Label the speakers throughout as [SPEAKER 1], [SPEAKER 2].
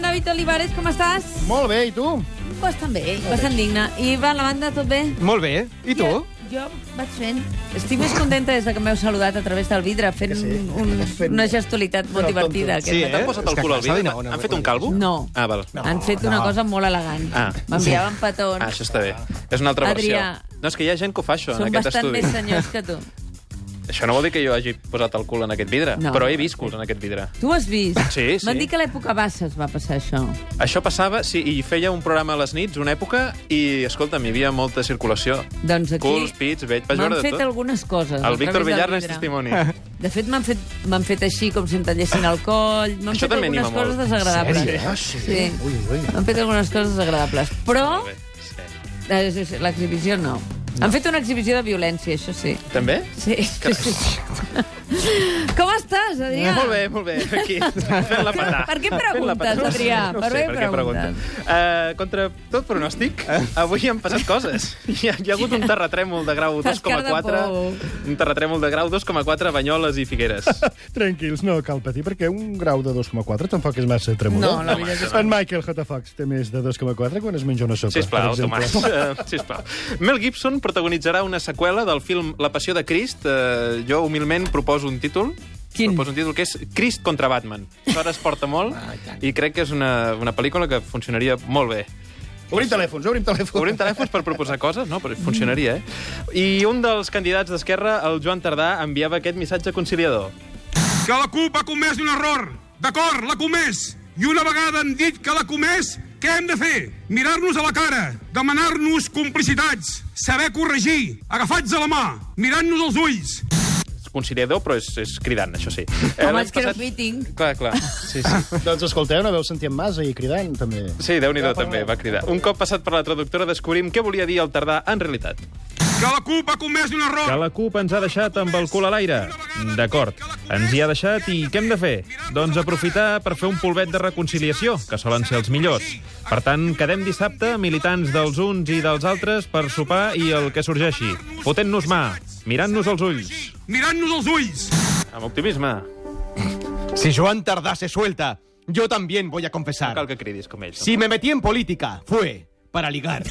[SPEAKER 1] David Olivares, com estàs?
[SPEAKER 2] Molt bé, i tu?
[SPEAKER 1] Pues també, bastant digne. I va, la banda, tot bé?
[SPEAKER 3] Molt bé. I tu?
[SPEAKER 1] Jo, jo vaig fent. Estic més contenta des de que m'heu saludat a través del vidre, fent sí, un,
[SPEAKER 2] fent-
[SPEAKER 1] una gestualitat molt
[SPEAKER 2] Però tonto.
[SPEAKER 1] divertida.
[SPEAKER 3] Sí,
[SPEAKER 1] aquest
[SPEAKER 3] eh?
[SPEAKER 1] matí.
[SPEAKER 3] T'han
[SPEAKER 4] posat el
[SPEAKER 3] És que
[SPEAKER 4] cul al
[SPEAKER 3] Calçadi
[SPEAKER 4] vidre?
[SPEAKER 3] no, no,
[SPEAKER 4] Han fet
[SPEAKER 3] no.
[SPEAKER 4] un calvo?
[SPEAKER 1] No.
[SPEAKER 4] Ah, val.
[SPEAKER 1] Han fet una
[SPEAKER 3] no.
[SPEAKER 1] cosa molt elegant.
[SPEAKER 4] Ah,
[SPEAKER 1] M'enviaven petons.
[SPEAKER 4] Ah, això està bé. És una altra
[SPEAKER 1] Adrià.
[SPEAKER 4] versió. No, és que hi ha gent que ho fa, això,
[SPEAKER 1] Són
[SPEAKER 4] en aquest
[SPEAKER 1] bastant
[SPEAKER 4] estudi.
[SPEAKER 1] més senyors que tu.
[SPEAKER 4] Això no vol dir que jo hagi posat el cul en aquest vidre,
[SPEAKER 1] No.
[SPEAKER 4] però he vist culs en aquest vidre.
[SPEAKER 1] Tu ho has vist?
[SPEAKER 4] Sí, sí.
[SPEAKER 1] Van dir que a l'època bassa es va passar això.
[SPEAKER 4] Això passava, sí, i feia un programa a les nits, una època, i, escolta'm, hi havia molta circulació.
[SPEAKER 1] Doncs aquí...
[SPEAKER 4] Culs, pits, vells, vaig
[SPEAKER 1] M'han
[SPEAKER 4] veure de
[SPEAKER 1] fet
[SPEAKER 4] tot.
[SPEAKER 1] algunes coses. a
[SPEAKER 4] El Víctor
[SPEAKER 1] través del
[SPEAKER 4] Villar n'és
[SPEAKER 1] vidre.
[SPEAKER 4] testimoni.
[SPEAKER 1] De fet, m'han fet, m'han fet així, com si em tallessin el coll. M'han
[SPEAKER 4] Això
[SPEAKER 1] fet
[SPEAKER 4] també
[SPEAKER 1] algunes
[SPEAKER 4] anima
[SPEAKER 1] coses
[SPEAKER 4] molt.
[SPEAKER 1] desagradables.
[SPEAKER 2] Sèrio?
[SPEAKER 1] Sí.
[SPEAKER 2] Ui, ui.
[SPEAKER 1] M'han fet algunes coses desagradables. Però
[SPEAKER 4] Molt bé, sí.
[SPEAKER 1] eh, sí, sí, l'exhibició no. Han fet una exhibició de violència, això sí.
[SPEAKER 4] També?
[SPEAKER 1] Sí, sí, sí. Com estàs, Adrià?
[SPEAKER 4] Molt bé, molt bé, aquí, fent la patà.
[SPEAKER 1] Per què
[SPEAKER 4] Fent la
[SPEAKER 1] preguntes,
[SPEAKER 4] patà.
[SPEAKER 1] Adrià?
[SPEAKER 4] No
[SPEAKER 1] Per
[SPEAKER 4] sé,
[SPEAKER 1] què
[SPEAKER 4] per què
[SPEAKER 1] preguntes? Eh?
[SPEAKER 4] preguntes. Uh, contra tot pronòstic, avui han passat coses. Hi ha, hi ha hagut un terratrèmol de grau
[SPEAKER 1] T'has quedat
[SPEAKER 4] 2,4,
[SPEAKER 1] por.
[SPEAKER 4] un terratrèmol de grau 2,4 a Banyoles i Figueres.
[SPEAKER 2] Tranquils, no cal patir, perquè un grau de 2,4 tampoc és massa tremolor.
[SPEAKER 1] No, la veritat és
[SPEAKER 2] En Michael J. Fox té més de 2,4 quan es menja una sopa,
[SPEAKER 4] Sisplau,
[SPEAKER 2] per exemple.
[SPEAKER 4] Tomàs. Uh, sisplau. Mel Gibson protagonitzarà una seqüela del film La passió de Crist. Uh, jo, humilment, proposo un títol.
[SPEAKER 1] Quin? Ah,
[SPEAKER 4] Proposo un títol que és Crist contra Batman. Això ara es porta molt i crec que és una, una pel·lícula que funcionaria molt bé.
[SPEAKER 2] Obrim telèfons, obrim telèfons.
[SPEAKER 4] Obrim telèfons per proposar coses, no? Però funcionaria, eh? I un dels candidats d'Esquerra, el Joan Tardà, enviava aquest missatge conciliador.
[SPEAKER 5] que la CUP ha comès un error. D'acord, l'ha comès. I una vegada hem dit que l'ha comès, què hem de fer? Mirar-nos a la cara, demanar-nos complicitats, saber corregir, agafats a la mà, mirant-nos als ulls.
[SPEAKER 4] És conciliador, però és, és cridant, això sí. Eh,
[SPEAKER 1] Home,
[SPEAKER 4] l'any
[SPEAKER 1] és que era un
[SPEAKER 4] passat-
[SPEAKER 1] meeting.
[SPEAKER 4] Clar, clar. Sí, sí.
[SPEAKER 2] Doncs escolteu, no veu sentir en Mas ahir cridant, també.
[SPEAKER 4] Sí, déu nhi també, va cridar. Un cop passat per la traductora, descobrim què volia dir el tardà en realitat.
[SPEAKER 5] Que la CUP ha comès un error.
[SPEAKER 6] Que la CUP ens ha deixat amb el cul a l'aire. D'acord, ens hi ha deixat i què hem de fer? Doncs aprofitar per fer un polvet de reconciliació, que solen ser els millors. Per tant, quedem dissabte, militants dels uns i dels altres, per sopar i el que sorgeixi. Fotent-nos mà, mirant-nos als ulls.
[SPEAKER 5] Mirant-nos als ulls.
[SPEAKER 4] Amb optimisme.
[SPEAKER 7] Si Joan Tardá se suelta, yo también voy
[SPEAKER 6] Ah.
[SPEAKER 7] a
[SPEAKER 4] No cal
[SPEAKER 7] confesar.
[SPEAKER 4] que cridis com ells.
[SPEAKER 7] Si me metí en política, fue para ligar.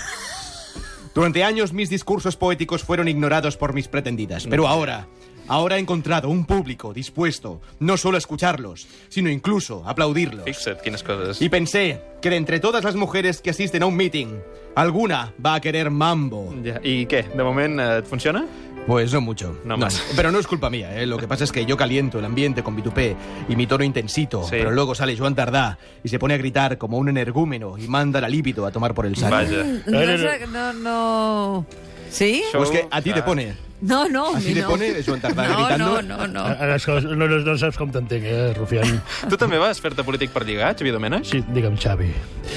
[SPEAKER 7] Durante años mis discursos poéticos fueron ignorados por mis pretendidas, pero ahora, ahora he encontrado un público dispuesto no solo a escucharlos, sino incluso a aplaudirlos.
[SPEAKER 4] Fixa't, quines coses.
[SPEAKER 7] Y pensé que de entre todas las mujeres que asisten a un meeting, alguna va a querer mambo.
[SPEAKER 4] Ja. I què? De moment eh, et funciona?
[SPEAKER 7] Pues no mucho.
[SPEAKER 4] No más.
[SPEAKER 7] Pero no es culpa mía, ¿eh? Lo que pasa es que yo caliento el ambiente con Vitupé y mi tono intensito,
[SPEAKER 4] Sí.
[SPEAKER 7] pero luego sale Joan Tardá y se pone a gritar como un energúmeno y manda la líbido a tomar por el saco.
[SPEAKER 4] Vaja.
[SPEAKER 1] No, sé- no, no... Sí?
[SPEAKER 7] Pues que a ti te pone.
[SPEAKER 1] No, no, a
[SPEAKER 7] Así
[SPEAKER 1] mi
[SPEAKER 7] te
[SPEAKER 1] no.
[SPEAKER 7] pone Joan Tardá
[SPEAKER 1] No, no,
[SPEAKER 7] gritando.
[SPEAKER 1] no, no.
[SPEAKER 2] Ara, Ah, és que no, no, no saps com t'entenc, eh, Rufián.
[SPEAKER 4] Tu també vas fer-te polític per lligar, Xavi Domènech?
[SPEAKER 2] Sí, digue'm, Xavi.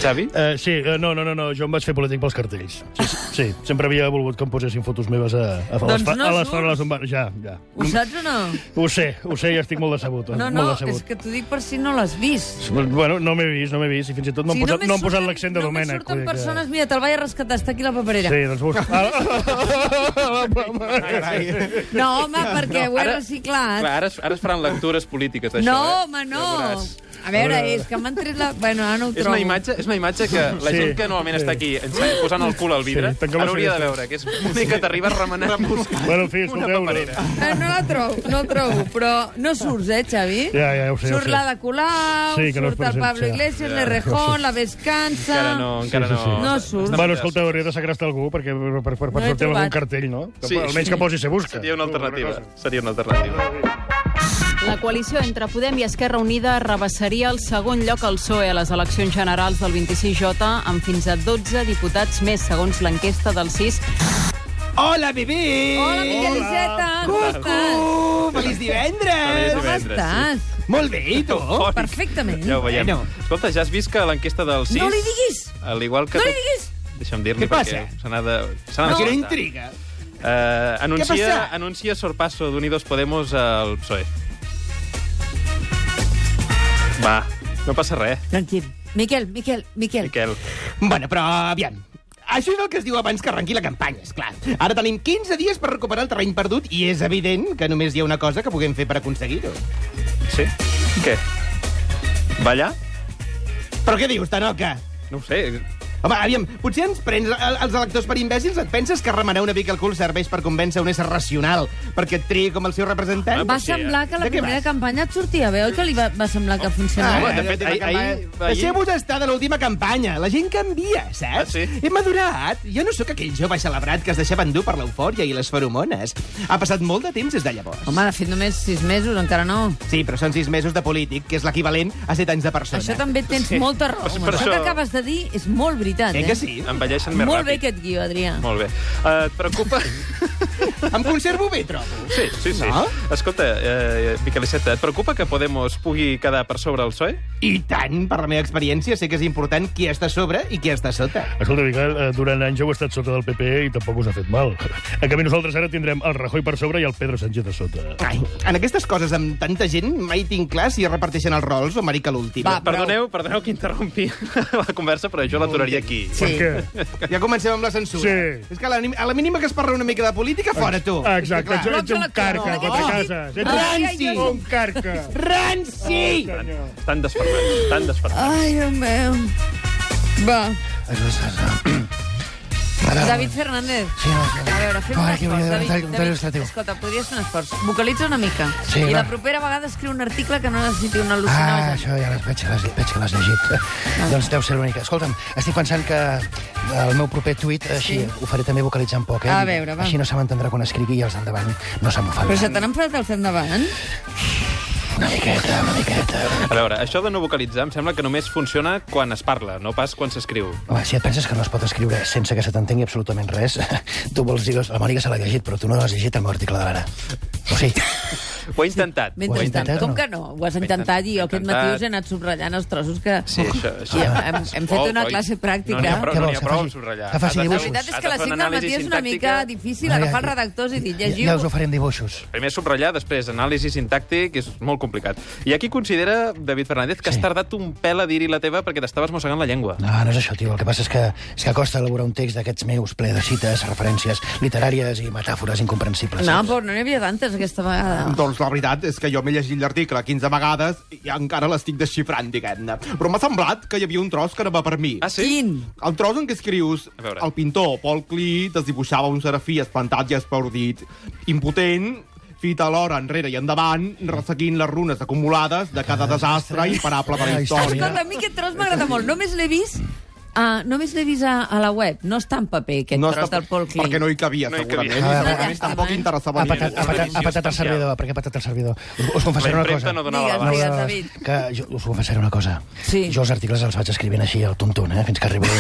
[SPEAKER 4] Xavi?
[SPEAKER 2] Eh, sí, eh, no, no, no, no, jo em vaig fer polític pels cartells. Sí, sí, sí, sempre havia volgut que em posessin fotos meves a, a, a
[SPEAKER 1] Doncs
[SPEAKER 2] les, fa-
[SPEAKER 1] no
[SPEAKER 2] a les
[SPEAKER 1] surts.
[SPEAKER 2] faroles on van... Ja, ja.
[SPEAKER 1] Ho saps o no?
[SPEAKER 2] Ho sé, ho sé i estic molt decebut.
[SPEAKER 1] No, no,
[SPEAKER 2] molt decebut.
[SPEAKER 1] és que t'ho dic per si no l'has vist.
[SPEAKER 2] Bueno, no m'he vist, no m'he vist, i fins i tot no han
[SPEAKER 1] Si
[SPEAKER 2] posat,
[SPEAKER 1] només
[SPEAKER 2] no han posat
[SPEAKER 1] surten-
[SPEAKER 2] l'accent de
[SPEAKER 1] Només
[SPEAKER 2] Domènec.
[SPEAKER 1] surten
[SPEAKER 2] vull dir que-
[SPEAKER 1] persones... Mira, te'l vaig a rescatar, està aquí la paperera.
[SPEAKER 2] Sí, doncs busca.
[SPEAKER 1] No, home, perquè ho he
[SPEAKER 4] Ara-
[SPEAKER 1] reciclat.
[SPEAKER 4] Clar, ara, es- ara es faran lectures polítiques d'això,
[SPEAKER 1] no,
[SPEAKER 4] eh?
[SPEAKER 1] home, no.
[SPEAKER 4] Ja veuràs.
[SPEAKER 1] A veure, és que m'han tret la... Bueno, ara no ho
[SPEAKER 4] És
[SPEAKER 1] trobo.
[SPEAKER 4] una, imatge, és una imatge que la
[SPEAKER 2] Sí.
[SPEAKER 4] gent que normalment està aquí ense- posant el cul al vidre
[SPEAKER 2] Sí, tanquem
[SPEAKER 4] ara
[SPEAKER 2] les
[SPEAKER 4] hauria de
[SPEAKER 2] finestres.
[SPEAKER 4] veure, que és l'únic que t'arriba remenant
[SPEAKER 2] Bueno, en fi,
[SPEAKER 4] una
[SPEAKER 2] escolteu
[SPEAKER 4] paperera.
[SPEAKER 1] Ah, no la trobo, no la trobo, però no surts, eh, Xavi?
[SPEAKER 2] Ja, ja, ja ho sé, ja ho
[SPEAKER 1] Surt
[SPEAKER 2] sé.
[SPEAKER 1] la de Colau,
[SPEAKER 2] Sí, que no
[SPEAKER 1] surt
[SPEAKER 2] es
[SPEAKER 1] el
[SPEAKER 2] presenta.
[SPEAKER 1] Pablo Iglesias,
[SPEAKER 4] Ja.
[SPEAKER 1] l'Errejón, la Vescanza...
[SPEAKER 4] Encara no, encara
[SPEAKER 2] Sí, sí, sí.
[SPEAKER 4] no.
[SPEAKER 1] No surt.
[SPEAKER 2] Bueno, escolteu, hauria de segrestar algú perquè per, per, per
[SPEAKER 1] No he
[SPEAKER 2] sortir amb
[SPEAKER 1] trobat.
[SPEAKER 2] algun cartell, no?
[SPEAKER 4] Sí.
[SPEAKER 2] Almenys que posi se busca.
[SPEAKER 4] Seria una alternativa. Seria una alternativa.
[SPEAKER 8] La coalició entre Podem i Esquerra Unida rebassaria el segon lloc al PSOE E a les eleccions generals del 26J amb fins a 12 diputats més, segons l'enquesta del CIS.
[SPEAKER 7] ¡Hola, bebé!
[SPEAKER 1] Hola, Miquel Iceta, com estàs?
[SPEAKER 7] ¡Uh, ¡Feliz divendres!
[SPEAKER 1] Com
[SPEAKER 4] Divendres,
[SPEAKER 1] estàs?
[SPEAKER 7] Molt bé, i tu?
[SPEAKER 1] Perfectament.
[SPEAKER 4] Ja ho veiem.
[SPEAKER 7] Oh, Bueno.
[SPEAKER 4] Escolta, ja has vist que l'enquesta del 6...
[SPEAKER 1] No li diguis!
[SPEAKER 4] Al igual que...
[SPEAKER 1] No li
[SPEAKER 4] tot-
[SPEAKER 1] diguis!
[SPEAKER 4] Deixa'm dir-li
[SPEAKER 7] Què
[SPEAKER 4] perquè
[SPEAKER 7] passa?
[SPEAKER 4] se n'ha de... Se n'ha
[SPEAKER 7] No.
[SPEAKER 4] de
[SPEAKER 7] Quina
[SPEAKER 4] escoltar.
[SPEAKER 7] Em intriga!
[SPEAKER 4] Eh,
[SPEAKER 7] Què
[SPEAKER 4] anuncia,
[SPEAKER 7] passa?
[SPEAKER 4] anuncia sorpasso d'Unidos Podemos al PSOE. Va, no passa res,
[SPEAKER 1] Tranquil. Miquel, Miquel, Miquel.
[SPEAKER 4] Miquel.
[SPEAKER 7] Bueno, però aviam. Això és el que es diu abans que arrenqui la campanya, és clar. Ara tenim 15 dies per recuperar el terreny perdut i és evident que només hi ha una cosa que puguem fer per aconseguir-ho.
[SPEAKER 4] Sí? Què? Ballar?
[SPEAKER 7] Però què dius, Tanoca?
[SPEAKER 4] No ho sé.
[SPEAKER 7] Home, aviam, potser ens prens el- els electors per imbècils? Et penses que remenar una mica el cul serveix per convèncer un ésser racional perquè et triï com el seu representant?
[SPEAKER 1] Va semblar que la
[SPEAKER 7] De què
[SPEAKER 1] primera
[SPEAKER 7] vas?
[SPEAKER 1] campanya et sortia bé, oi que li va, va semblar que
[SPEAKER 7] Ah,
[SPEAKER 1] funcionava?
[SPEAKER 7] eh,
[SPEAKER 4] Home, de fet, ahir- ahir- ahir-
[SPEAKER 7] Deixeu-vos estar de l'última campanya. La gent canvia, saps?
[SPEAKER 4] Ah, sí?
[SPEAKER 7] He madurat. Jo no sóc aquell jove celebrat que es deixava endur per l'eufòria i les feromones. Ha passat molt de temps des de llavors.
[SPEAKER 1] Home, de fet, només sis mesos, encara no.
[SPEAKER 7] Sí, però són sis mesos de polític, que és l'equivalent a set anys de persona.
[SPEAKER 1] Això també tens molta raó.
[SPEAKER 4] Per-
[SPEAKER 1] Això,
[SPEAKER 4] per
[SPEAKER 1] que
[SPEAKER 4] això-
[SPEAKER 1] acabes de dir és molt veritat,
[SPEAKER 7] Eh
[SPEAKER 1] eh?
[SPEAKER 7] que sí?
[SPEAKER 4] Envelleixen més
[SPEAKER 1] Molt bé
[SPEAKER 4] ràpid.
[SPEAKER 1] aquest guió, Adrià.
[SPEAKER 4] Molt bé. Uh, et preocupa...
[SPEAKER 7] Em conservo bé, trobo.
[SPEAKER 4] Sí, sí, sí.
[SPEAKER 7] No?
[SPEAKER 4] Escolta, eh, Miquel Iceta, et preocupa que Podemos pugui quedar per sobre el PSOE?
[SPEAKER 7] I tant, per la meva experiència, sé que és important qui està a sobre i qui està a sota.
[SPEAKER 2] Escolta, Miquel, eh, durant anys heu estat sota del PP i tampoc us ha fet mal. En canvi, nosaltres ara tindrem el Rajoy per sobre i el Pedro Sánchez a sota.
[SPEAKER 7] Ai, en aquestes coses amb tanta gent mai tinc clar si es reparteixen els rols o marica l'última.
[SPEAKER 1] Va, Ah, prou.
[SPEAKER 4] Perdoneu, perdoneu que interrompi la conversa, però jo l'aturaria aquí.
[SPEAKER 1] Sí.
[SPEAKER 2] Què?
[SPEAKER 7] Ja comencem amb la censura.
[SPEAKER 2] Sí.
[SPEAKER 7] És que a la, a la mínima que es parla una mica de política, fora tu.
[SPEAKER 2] Exacte,
[SPEAKER 7] És que
[SPEAKER 2] jo
[SPEAKER 7] clar.
[SPEAKER 2] ets un carca, que te cases. Ets
[SPEAKER 7] Ranci!
[SPEAKER 2] un- un carca.
[SPEAKER 7] Ranci!
[SPEAKER 4] Estan desfermats, estan desfermats.
[SPEAKER 1] Ai, Déu meu. Va. David Fernández. Sí, a veure, fem un esforç. David, David, escolta, podries fer un esforç. Vocalitza una mica.
[SPEAKER 3] Sí,
[SPEAKER 1] I la
[SPEAKER 3] va.
[SPEAKER 1] propera vegada escriu un article que no Ah. necessiti un
[SPEAKER 3] Ah,
[SPEAKER 1] al·lucinogen.
[SPEAKER 3] això ja les veig, les, veig que l'has llegit. Doncs deu ser l'única. Escolta'm, estic pensant que el meu proper tuit, eh, així,
[SPEAKER 1] Sí.
[SPEAKER 3] ho faré també vocalitzant poc, eh?
[SPEAKER 1] A veure, va.
[SPEAKER 3] Així no se m'entendrà quan escrigui i els d'endavant no se m'ofan.
[SPEAKER 1] Però se t'han enfadat el fem davant?
[SPEAKER 3] Una miqueta, una miqueta.
[SPEAKER 1] Ah.
[SPEAKER 4] A veure, això de no vocalitzar em sembla que només funciona quan es parla, no pas quan s'escriu.
[SPEAKER 3] Home, si et penses que no es pot escriure sense que se t'entengui absolutament res, tu vols dir... La Mònica se l'ha llegit, però tu no l'has llegit el meu article de l'ara. O sigui,
[SPEAKER 4] Ho he intentat.
[SPEAKER 3] Ho he
[SPEAKER 1] Mentrestant,
[SPEAKER 3] intentat,
[SPEAKER 1] com
[SPEAKER 3] no?
[SPEAKER 1] que no? Ho has intentat i jo
[SPEAKER 4] Ho he
[SPEAKER 1] aquest
[SPEAKER 4] intentat.
[SPEAKER 1] matí us he anat subratllant els trossos que...
[SPEAKER 4] Sí, això, això.
[SPEAKER 1] I Oh. hem, hem, hem fet
[SPEAKER 4] Oh,
[SPEAKER 1] una
[SPEAKER 4] coi.
[SPEAKER 1] classe pràctica.
[SPEAKER 4] No n'hi ha prou,
[SPEAKER 3] Què
[SPEAKER 4] no
[SPEAKER 3] vols,
[SPEAKER 4] n'hi ha
[SPEAKER 3] que
[SPEAKER 4] prou
[SPEAKER 3] faci-
[SPEAKER 4] amb subratllar.
[SPEAKER 3] que faci
[SPEAKER 4] Has de fer
[SPEAKER 1] La
[SPEAKER 3] dibuixos?
[SPEAKER 4] un-
[SPEAKER 1] veritat és
[SPEAKER 4] has
[SPEAKER 1] que
[SPEAKER 4] de
[SPEAKER 1] a les
[SPEAKER 4] fer una
[SPEAKER 1] 5 del
[SPEAKER 4] anàlisi
[SPEAKER 1] matí és una mica
[SPEAKER 4] sintàctica.
[SPEAKER 1] difícil
[SPEAKER 3] No, ja-
[SPEAKER 1] agafar els redactors i dir,
[SPEAKER 3] ja us
[SPEAKER 1] llegiu
[SPEAKER 3] ho faré amb dibuixos.
[SPEAKER 4] Primer subratllar, després anàlisi sintàctic, és molt complicat. I aquí considera, David Fernández, que has tardat un pèl a dir-hi la teva perquè t'estaves mossegant la llengua.
[SPEAKER 3] No, no és això, tio. El que passa és que, és que costa elaborar un text d'aquests meus, ple de cites, referències literàries i metàfores incomprensibles.
[SPEAKER 1] No,
[SPEAKER 3] saps?
[SPEAKER 1] però no n'hi havia tantes aquesta vegada.
[SPEAKER 7] Doncs la veritat és que jo m'he llegit l'article 15 vegades i encara l'estic desxifrant, diguem-ne. Però m'ha semblat que hi havia un tros que no va per mi.
[SPEAKER 4] Ah, sí?
[SPEAKER 1] Quin?
[SPEAKER 7] El tros en què escrius,
[SPEAKER 4] A veure.
[SPEAKER 7] el pintor Paul Klee desdibuixava un serafí espantat i espaordit, impotent, fita l'hora enrere i endavant, resseguint les runes acumulades de cada
[SPEAKER 1] Ah,
[SPEAKER 7] desastre imparable per la
[SPEAKER 3] Ai,
[SPEAKER 7] història.
[SPEAKER 1] Escolta, a mi aquest tros m'agrada molt. Només l'he vist... Uh, només l'he vist a, a la web. No està en paper, aquest no tros
[SPEAKER 7] està-
[SPEAKER 1] del Paul Klee.
[SPEAKER 7] Perquè no hi cabia,
[SPEAKER 4] No hi
[SPEAKER 7] segurament.
[SPEAKER 4] cabia.
[SPEAKER 3] Ah,
[SPEAKER 7] I
[SPEAKER 3] ja
[SPEAKER 7] segurament
[SPEAKER 1] estava,
[SPEAKER 7] tampoc
[SPEAKER 1] eh?
[SPEAKER 7] interessava
[SPEAKER 3] Ha
[SPEAKER 7] a
[SPEAKER 3] patat, ha
[SPEAKER 7] ningú.
[SPEAKER 3] patat, ha patat el servidor, perquè ha patat el servidor. Us- Us confessaré
[SPEAKER 4] La
[SPEAKER 3] una
[SPEAKER 4] impremta
[SPEAKER 3] cosa.
[SPEAKER 4] no donava
[SPEAKER 1] Digues,
[SPEAKER 4] la
[SPEAKER 1] digues,
[SPEAKER 3] no,
[SPEAKER 1] David.
[SPEAKER 3] que jo us confessaré una cosa.
[SPEAKER 1] Sí.
[SPEAKER 3] Jo els articles els vaig escrivint així al tuntun, eh? fins, que arribo,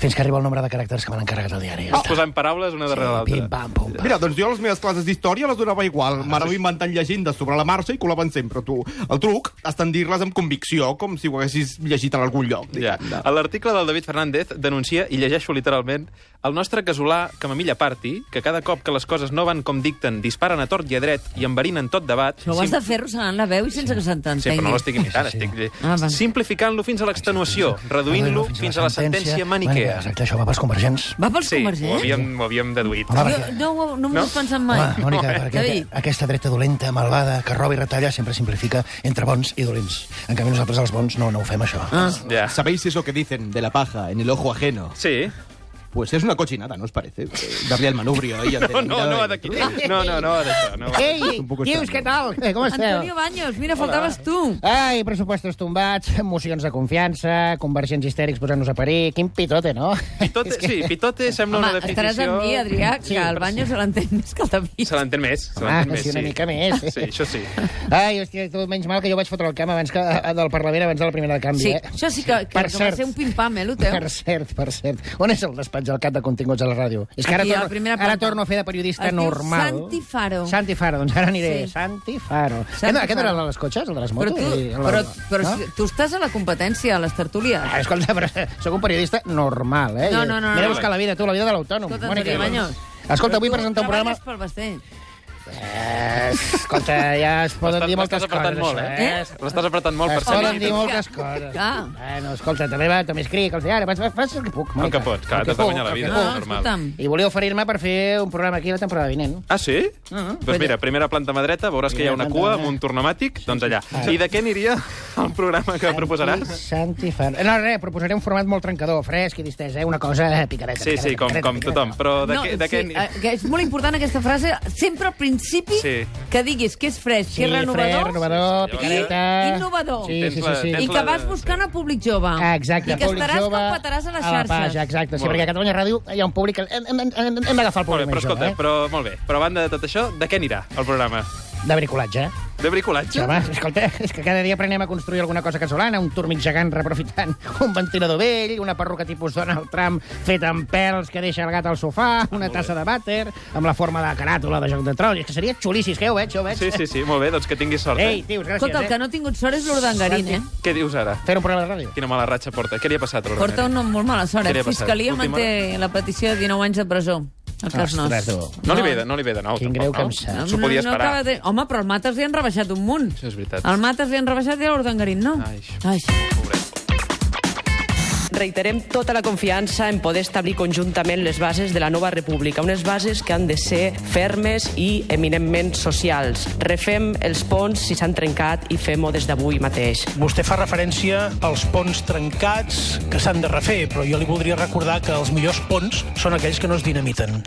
[SPEAKER 3] fins que arriba el nombre de caràcters que m'han encarregat al diari.
[SPEAKER 1] Oh.
[SPEAKER 3] Ja
[SPEAKER 4] Vas
[SPEAKER 3] està.
[SPEAKER 4] posant paraules una darrere
[SPEAKER 3] Pim,
[SPEAKER 4] l'altra.
[SPEAKER 3] pam, pum, pam.
[SPEAKER 7] Mira, doncs jo a les meves classes d'història les donava igual.
[SPEAKER 4] Ah,
[SPEAKER 7] M'anava inventant llegendes sobre la marxa i colaven sempre, tu. El truc és tendir-les amb convicció, com si ho haguessis llegit en algun lloc. "Ah,
[SPEAKER 4] Ja.
[SPEAKER 7] diguem-ne.
[SPEAKER 4] A L'article del David Fernández denuncia, i llegeixo literalment, el nostre casolà Camamilla Party, que cada cop que les coses no van com dicten, disparen a tort i a dret i enverinen tot debat...
[SPEAKER 1] Però ho has de fer arrossegant la veu i sense que
[SPEAKER 4] Sí, però no
[SPEAKER 1] s'entengui.
[SPEAKER 4] l'estic imitant,
[SPEAKER 3] Sí, sí, sí.
[SPEAKER 4] estic
[SPEAKER 1] Ah, va.
[SPEAKER 4] simplificant-lo fins a l'extenuació, reduint-lo fins a la sentència maniquea.
[SPEAKER 3] Exacte, això va pels convergents.
[SPEAKER 1] Va pels
[SPEAKER 4] Sí, ho
[SPEAKER 1] convergents?
[SPEAKER 4] havíem, ho havíem deduït.
[SPEAKER 3] Home,
[SPEAKER 1] Jo,
[SPEAKER 3] perquè-
[SPEAKER 1] no, ho- no m'ho
[SPEAKER 4] No?
[SPEAKER 1] has pensat mai.
[SPEAKER 3] Home, Mònica, perquè
[SPEAKER 1] David.
[SPEAKER 3] aqu- aquesta dreta dolenta, malvada, que roba i retalla, sempre simplifica entre bons i dolents. En canvi, nosaltres, els bons, no, no ho fem, això.
[SPEAKER 1] Ah.
[SPEAKER 4] Ja.
[SPEAKER 7] ¿Sabéis eso que dicen de la paja en el ojo ajeno?
[SPEAKER 4] Sí.
[SPEAKER 7] Pues es una cochinada, ¿no os parece? Eh, Darle al manubrio ahí.
[SPEAKER 4] No, no, no, va d'aquí. No, no, no, va d'això. No, va.
[SPEAKER 9] Ei,
[SPEAKER 7] Un poco
[SPEAKER 9] tios,
[SPEAKER 7] extraño.
[SPEAKER 9] què tal? Eh, com esteu?
[SPEAKER 1] Antonio Baños, mira, faltaves tu.
[SPEAKER 9] Ai, pressupostos tombats, mocions de confiança, convergents histèrics posant-nos a parir... Quin pitote, no?
[SPEAKER 4] Pitote, sí, pitote sembla
[SPEAKER 1] Home,
[SPEAKER 4] una definició...
[SPEAKER 1] estaràs amb mi, Adrià, que el Baños se l'entén més que el David.
[SPEAKER 4] Se l'entén més, se
[SPEAKER 9] Ah,
[SPEAKER 4] l'entén més,
[SPEAKER 9] sí, una
[SPEAKER 4] sí.
[SPEAKER 9] mica més.
[SPEAKER 4] Sí, això sí.
[SPEAKER 9] Ai, hòstia, tu, menys mal que jo vaig fotre el camp abans que, a- del Parlament, abans de la primera de
[SPEAKER 1] Ah.
[SPEAKER 9] canvi,
[SPEAKER 1] Sí,
[SPEAKER 9] eh?
[SPEAKER 1] això sí que, que,
[SPEAKER 9] Per
[SPEAKER 1] que va
[SPEAKER 9] cert.
[SPEAKER 1] ser un pim-pam, eh, lo teu?
[SPEAKER 9] Per cert, per cert. On és el despatx del cap de continguts a la ràdio? És que ara,
[SPEAKER 1] Aquí, a la
[SPEAKER 9] torno,
[SPEAKER 1] primera
[SPEAKER 9] ara
[SPEAKER 1] planta.
[SPEAKER 9] torno a fer de periodista
[SPEAKER 1] Es diu
[SPEAKER 9] normal.
[SPEAKER 1] Santi Faro.
[SPEAKER 9] Santi Faro, doncs ara aniré.
[SPEAKER 1] Sí.
[SPEAKER 9] Sí. Santi Faro.
[SPEAKER 1] Santi
[SPEAKER 9] Santi aquest
[SPEAKER 1] Faro.
[SPEAKER 9] era el de les cotxes, el de les
[SPEAKER 1] Però
[SPEAKER 9] motos?
[SPEAKER 1] tu,
[SPEAKER 9] i el de-
[SPEAKER 1] però, però
[SPEAKER 9] eh, no?
[SPEAKER 1] si- tu estàs a la competència, a les tertúlies.
[SPEAKER 9] Ah, escolta, però sóc un periodista normal, eh?
[SPEAKER 1] No, no, no,
[SPEAKER 9] M'he de
[SPEAKER 1] no.
[SPEAKER 9] buscar la vida, tu, la vida de l'autònom.
[SPEAKER 1] Escolta, Antonio Baños.
[SPEAKER 9] Escolta,
[SPEAKER 1] Però
[SPEAKER 9] vull
[SPEAKER 1] tu
[SPEAKER 9] presentar un programa...
[SPEAKER 1] treballes pel Basté.
[SPEAKER 9] Eh, escolta, ja es poden
[SPEAKER 4] M'estàs-
[SPEAKER 9] dir moltes
[SPEAKER 4] m'estàs apretant
[SPEAKER 9] coses,
[SPEAKER 4] molt,
[SPEAKER 9] això,
[SPEAKER 4] eh? L'estàs apretant molt,
[SPEAKER 9] Es
[SPEAKER 4] per ser
[SPEAKER 9] poden
[SPEAKER 4] mínim.
[SPEAKER 9] dir moltes coses.
[SPEAKER 1] Clar.
[SPEAKER 9] Bueno, escolta, també, va, també escric, els diaris, faig, faig el que puc.
[SPEAKER 4] El
[SPEAKER 9] Mònica.
[SPEAKER 4] que pots, clar,
[SPEAKER 9] El que
[SPEAKER 4] t'has de
[SPEAKER 9] puc,
[SPEAKER 4] guanyar la
[SPEAKER 9] el que
[SPEAKER 4] vida.
[SPEAKER 1] No,
[SPEAKER 9] puc.
[SPEAKER 4] normal.
[SPEAKER 1] Ah, escolta'm.
[SPEAKER 9] I volia oferir-me per fer un programa aquí la temporada vinent.
[SPEAKER 4] Ah, sí? Doncs mira, primera planta mà dreta, veuràs que hi ha una
[SPEAKER 9] Primera planta
[SPEAKER 4] cua
[SPEAKER 9] mà
[SPEAKER 4] amb un tornamàtic, doncs allà. I de què aniria el programa que proposaràs?
[SPEAKER 10] Santi Fan. No, res, proposaré un format molt trencador, fresc i distès, eh? Una cosa eh, picareta.
[SPEAKER 4] Sí, sí,
[SPEAKER 10] picareta,
[SPEAKER 4] com,
[SPEAKER 10] picareta, picareta.
[SPEAKER 4] com tothom. Però de, què, de què...
[SPEAKER 1] sí, eh, que és molt important aquesta frase, sempre al principi
[SPEAKER 4] Sí.
[SPEAKER 1] que diguis que és fresc,
[SPEAKER 10] Sí,
[SPEAKER 1] que és renovador,
[SPEAKER 10] Fred, renovador,
[SPEAKER 4] Sí, sí,
[SPEAKER 10] picareta...
[SPEAKER 1] i innovador.
[SPEAKER 10] Sí,
[SPEAKER 4] Tens
[SPEAKER 10] sí,
[SPEAKER 4] la-
[SPEAKER 10] sí, sí.
[SPEAKER 4] tens
[SPEAKER 1] i que vas buscant a públic jove.
[SPEAKER 10] Ah, exacte.
[SPEAKER 1] I que
[SPEAKER 10] públic
[SPEAKER 1] estaràs
[SPEAKER 10] jove
[SPEAKER 1] com petaràs a les
[SPEAKER 10] A la
[SPEAKER 1] xarxes.
[SPEAKER 10] paja, exacte. Sí,
[SPEAKER 4] Molt
[SPEAKER 10] perquè a
[SPEAKER 4] bé.
[SPEAKER 10] Catalunya Ràdio hi ha un públic... que- Hem, hem, hem, hem d'agafar el
[SPEAKER 4] Molt
[SPEAKER 10] públic
[SPEAKER 4] bé, però
[SPEAKER 10] més
[SPEAKER 9] eh.
[SPEAKER 4] escolta,
[SPEAKER 10] jove,
[SPEAKER 4] però molt bé. Però a banda de tot això, de què anirà el programa?
[SPEAKER 10] eh? De bricolatge, eh?
[SPEAKER 4] De bricolatge?
[SPEAKER 10] Sí, home, escolta, és que cada dia aprenem a construir alguna cosa casolana, un turmic gegant reprofitant un ventilador vell, una perruca tipus Donald Trump feta amb pèls que deixa el gat al sofà, una tassa de vàter amb la forma de caràtula de Joc de Trons. És que seria xulíssim, que ja ho veig, ja ho veig.
[SPEAKER 4] Sí, sí, sí, molt bé, doncs que tinguis sort.
[SPEAKER 10] Ei,
[SPEAKER 4] Eh?
[SPEAKER 10] tios, gràcies,
[SPEAKER 1] Escolta, el
[SPEAKER 10] eh?
[SPEAKER 1] que no ha tingut sort és l'Urdangarín, eh?
[SPEAKER 4] Què dius ara?
[SPEAKER 10] Fer un programa de ràdio.
[SPEAKER 4] Quina mala ratxa porta. Què li ha passat, Ordenari?
[SPEAKER 1] Porta una molt mala sort.
[SPEAKER 4] Què li
[SPEAKER 1] eh?
[SPEAKER 4] ha passat?
[SPEAKER 1] Fiscalia
[SPEAKER 4] Última
[SPEAKER 1] manté la petició de 19 anys de presó. El cas
[SPEAKER 9] Ah,
[SPEAKER 10] Ostres,
[SPEAKER 1] Nos.
[SPEAKER 10] tu.
[SPEAKER 4] No li ve de, no li ve de nou,
[SPEAKER 10] Quin
[SPEAKER 4] tampoc,
[SPEAKER 10] greu que
[SPEAKER 4] no?
[SPEAKER 10] em sap.
[SPEAKER 4] S'ho podia
[SPEAKER 1] No, no acaba
[SPEAKER 4] esperar.
[SPEAKER 1] de... Home, però al Mates li han rebaixat un munt.
[SPEAKER 4] Sí, és veritat.
[SPEAKER 1] Al Mates li han rebaixat i a l'Urdangarín, no?
[SPEAKER 4] Ai, això.
[SPEAKER 1] Ai.
[SPEAKER 4] Pobret.
[SPEAKER 11] Reiterem tota la confiança en poder establir conjuntament les bases de la nova república, unes bases que han de ser fermes i eminentment socials. Refem els ponts si s'han trencat i fem-ho des d'avui mateix.
[SPEAKER 2] Vostè fa referència als ponts trencats que s'han de refer, però jo li voldria recordar que els millors ponts són aquells que no es dinamiten.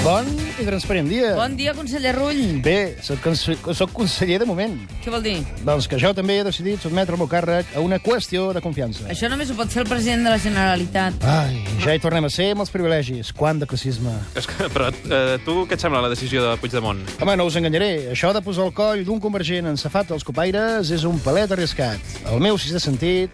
[SPEAKER 9] Bon i transparent dia.
[SPEAKER 1] Bon dia, conseller Rull.
[SPEAKER 9] Bé, soc, conse- soc conseller de moment.
[SPEAKER 1] Què vol dir?
[SPEAKER 9] Doncs que jo també he decidit sotmetre el meu càrrec a una qüestió de confiança.
[SPEAKER 1] Això només ho pot fer el president de la Generalitat.
[SPEAKER 9] Ai, ja hi tornem a ser amb els privilegis. Quant de classisme.
[SPEAKER 4] És que- Però eh, tu què et sembla la decisió de Puigdemont?
[SPEAKER 9] Home, no us enganyaré. Això de posar el coll d'un convergent en safat als copaires és un palet arriscat. El meu sisè sentit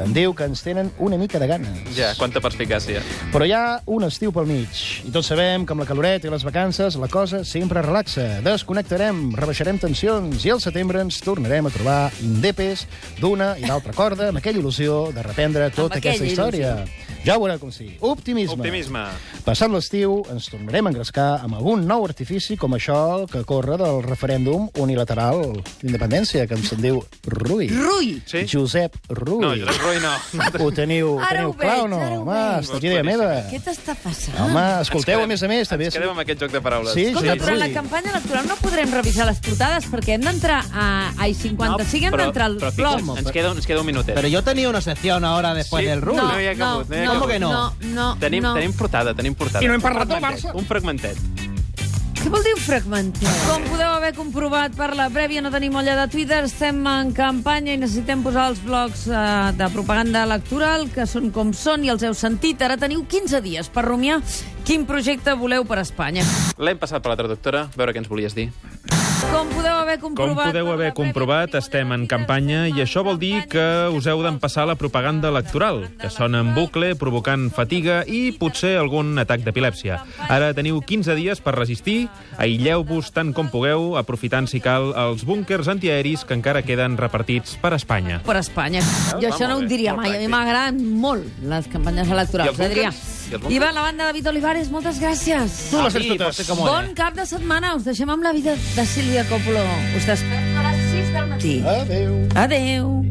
[SPEAKER 9] em diu que ens tenen una mica de ganes.
[SPEAKER 4] Ja, quanta perspicàcia.
[SPEAKER 9] Però hi ha un estiu pel mig. I tots sabem que amb la caloreta i les vacances la cosa sempre relaxa. Desconnectarem, rebaixarem tensions i al setembre ens tornarem a trobar indepes d'una i d'altra corda amb aquella il·lusió de reprendre tota
[SPEAKER 1] aquella
[SPEAKER 9] aquesta història. Ja ho veurà com sí. Optimisme.
[SPEAKER 4] Optimisme.
[SPEAKER 9] Passat l'estiu, ens tornarem a engrescar amb algun nou artifici com això que corre del referèndum unilateral d'independència, que em se'n diu Rui.
[SPEAKER 1] Rull!
[SPEAKER 4] Sí?
[SPEAKER 9] Josep Rui.
[SPEAKER 4] No, Josep Rull no.
[SPEAKER 9] Ho teniu, ho
[SPEAKER 1] Ara
[SPEAKER 9] teniu
[SPEAKER 1] ho
[SPEAKER 9] clar o
[SPEAKER 1] veig,
[SPEAKER 9] no?
[SPEAKER 1] ara ho
[SPEAKER 9] Home,
[SPEAKER 1] veig.
[SPEAKER 9] ha estat idea
[SPEAKER 4] Boníssim.
[SPEAKER 9] meva.
[SPEAKER 1] Què t'està passant?
[SPEAKER 9] Home, escolteu,
[SPEAKER 4] Doncs Ens
[SPEAKER 9] a més a més, també...
[SPEAKER 4] Ens quedem amb aquest joc de paraules.
[SPEAKER 9] Sí,
[SPEAKER 1] Escolta,
[SPEAKER 9] Josep
[SPEAKER 1] durant la
[SPEAKER 9] Rull.
[SPEAKER 1] campanya electoral no podrem revisar les portades perquè hem d'entrar a I-55, hem d'entrar al
[SPEAKER 4] però fixa't,
[SPEAKER 1] blog.
[SPEAKER 4] ens queda, un- ens queda un minutet.
[SPEAKER 12] Pero yo tenía una sección ahora después
[SPEAKER 4] Sí.
[SPEAKER 12] del
[SPEAKER 4] No,
[SPEAKER 12] rule.
[SPEAKER 4] no hi ha cabut, no hi ha
[SPEAKER 1] no,
[SPEAKER 4] cabut.
[SPEAKER 12] que no?
[SPEAKER 1] No, no,
[SPEAKER 4] Tenim,
[SPEAKER 1] no.
[SPEAKER 4] tenim portada, tenim portada.
[SPEAKER 10] I no hem parlat del
[SPEAKER 4] Un fragmentet, Un fragmentet.
[SPEAKER 1] Què vol dir un fragmentat? Com podeu haver comprovat per la prèvia, no tenim olla de Twitter, estem en campanya i necessitem posar els blogs eh, de propaganda electoral, que són com són i els heu sentit. Ara teniu 15 dies per rumiar quin projecte voleu per Espanya.
[SPEAKER 4] L'hem passat per la traductora, a veure què ens volies dir.
[SPEAKER 1] Com podeu haver comprovat...
[SPEAKER 13] Com podeu
[SPEAKER 1] per la
[SPEAKER 13] haver
[SPEAKER 1] prèvia,
[SPEAKER 13] comprovat,
[SPEAKER 1] tenim olla
[SPEAKER 13] estem
[SPEAKER 1] de
[SPEAKER 13] en
[SPEAKER 1] Twitter,
[SPEAKER 13] campanya
[SPEAKER 1] estem
[SPEAKER 13] i
[SPEAKER 1] en
[SPEAKER 13] això vol dir
[SPEAKER 1] campanya,
[SPEAKER 13] que
[SPEAKER 1] necessitem
[SPEAKER 13] us heu d'empassar la propaganda electoral, que sona en bucle, provocant fatiga i potser algun atac d'epilèpsia. Ara teniu 15 dies per resistir, aïlleu-vos tant com pugueu, aprofitant, si cal, els búnkers antiaeris que encara queden repartits per Espanya.
[SPEAKER 1] per Espanya. Jo
[SPEAKER 4] va,
[SPEAKER 1] això no
[SPEAKER 4] molt
[SPEAKER 1] ho
[SPEAKER 4] bé,
[SPEAKER 1] diria
[SPEAKER 4] molt
[SPEAKER 1] mai. A mi
[SPEAKER 4] pràctic.
[SPEAKER 1] m'agraden molt les campanyes
[SPEAKER 4] I
[SPEAKER 1] electorals,
[SPEAKER 4] els
[SPEAKER 1] Adrià.
[SPEAKER 4] búnkers? I els Ah, búnkers?
[SPEAKER 1] I va, la banda de Vito Olivares, moltes gràcies.
[SPEAKER 9] Tu les tens totes.
[SPEAKER 1] Bon cap de setmana. Us deixem amb la vida de Sílvia Coppolo. Us desperto a les 6 del matí.
[SPEAKER 9] Adéu.
[SPEAKER 1] Adeu.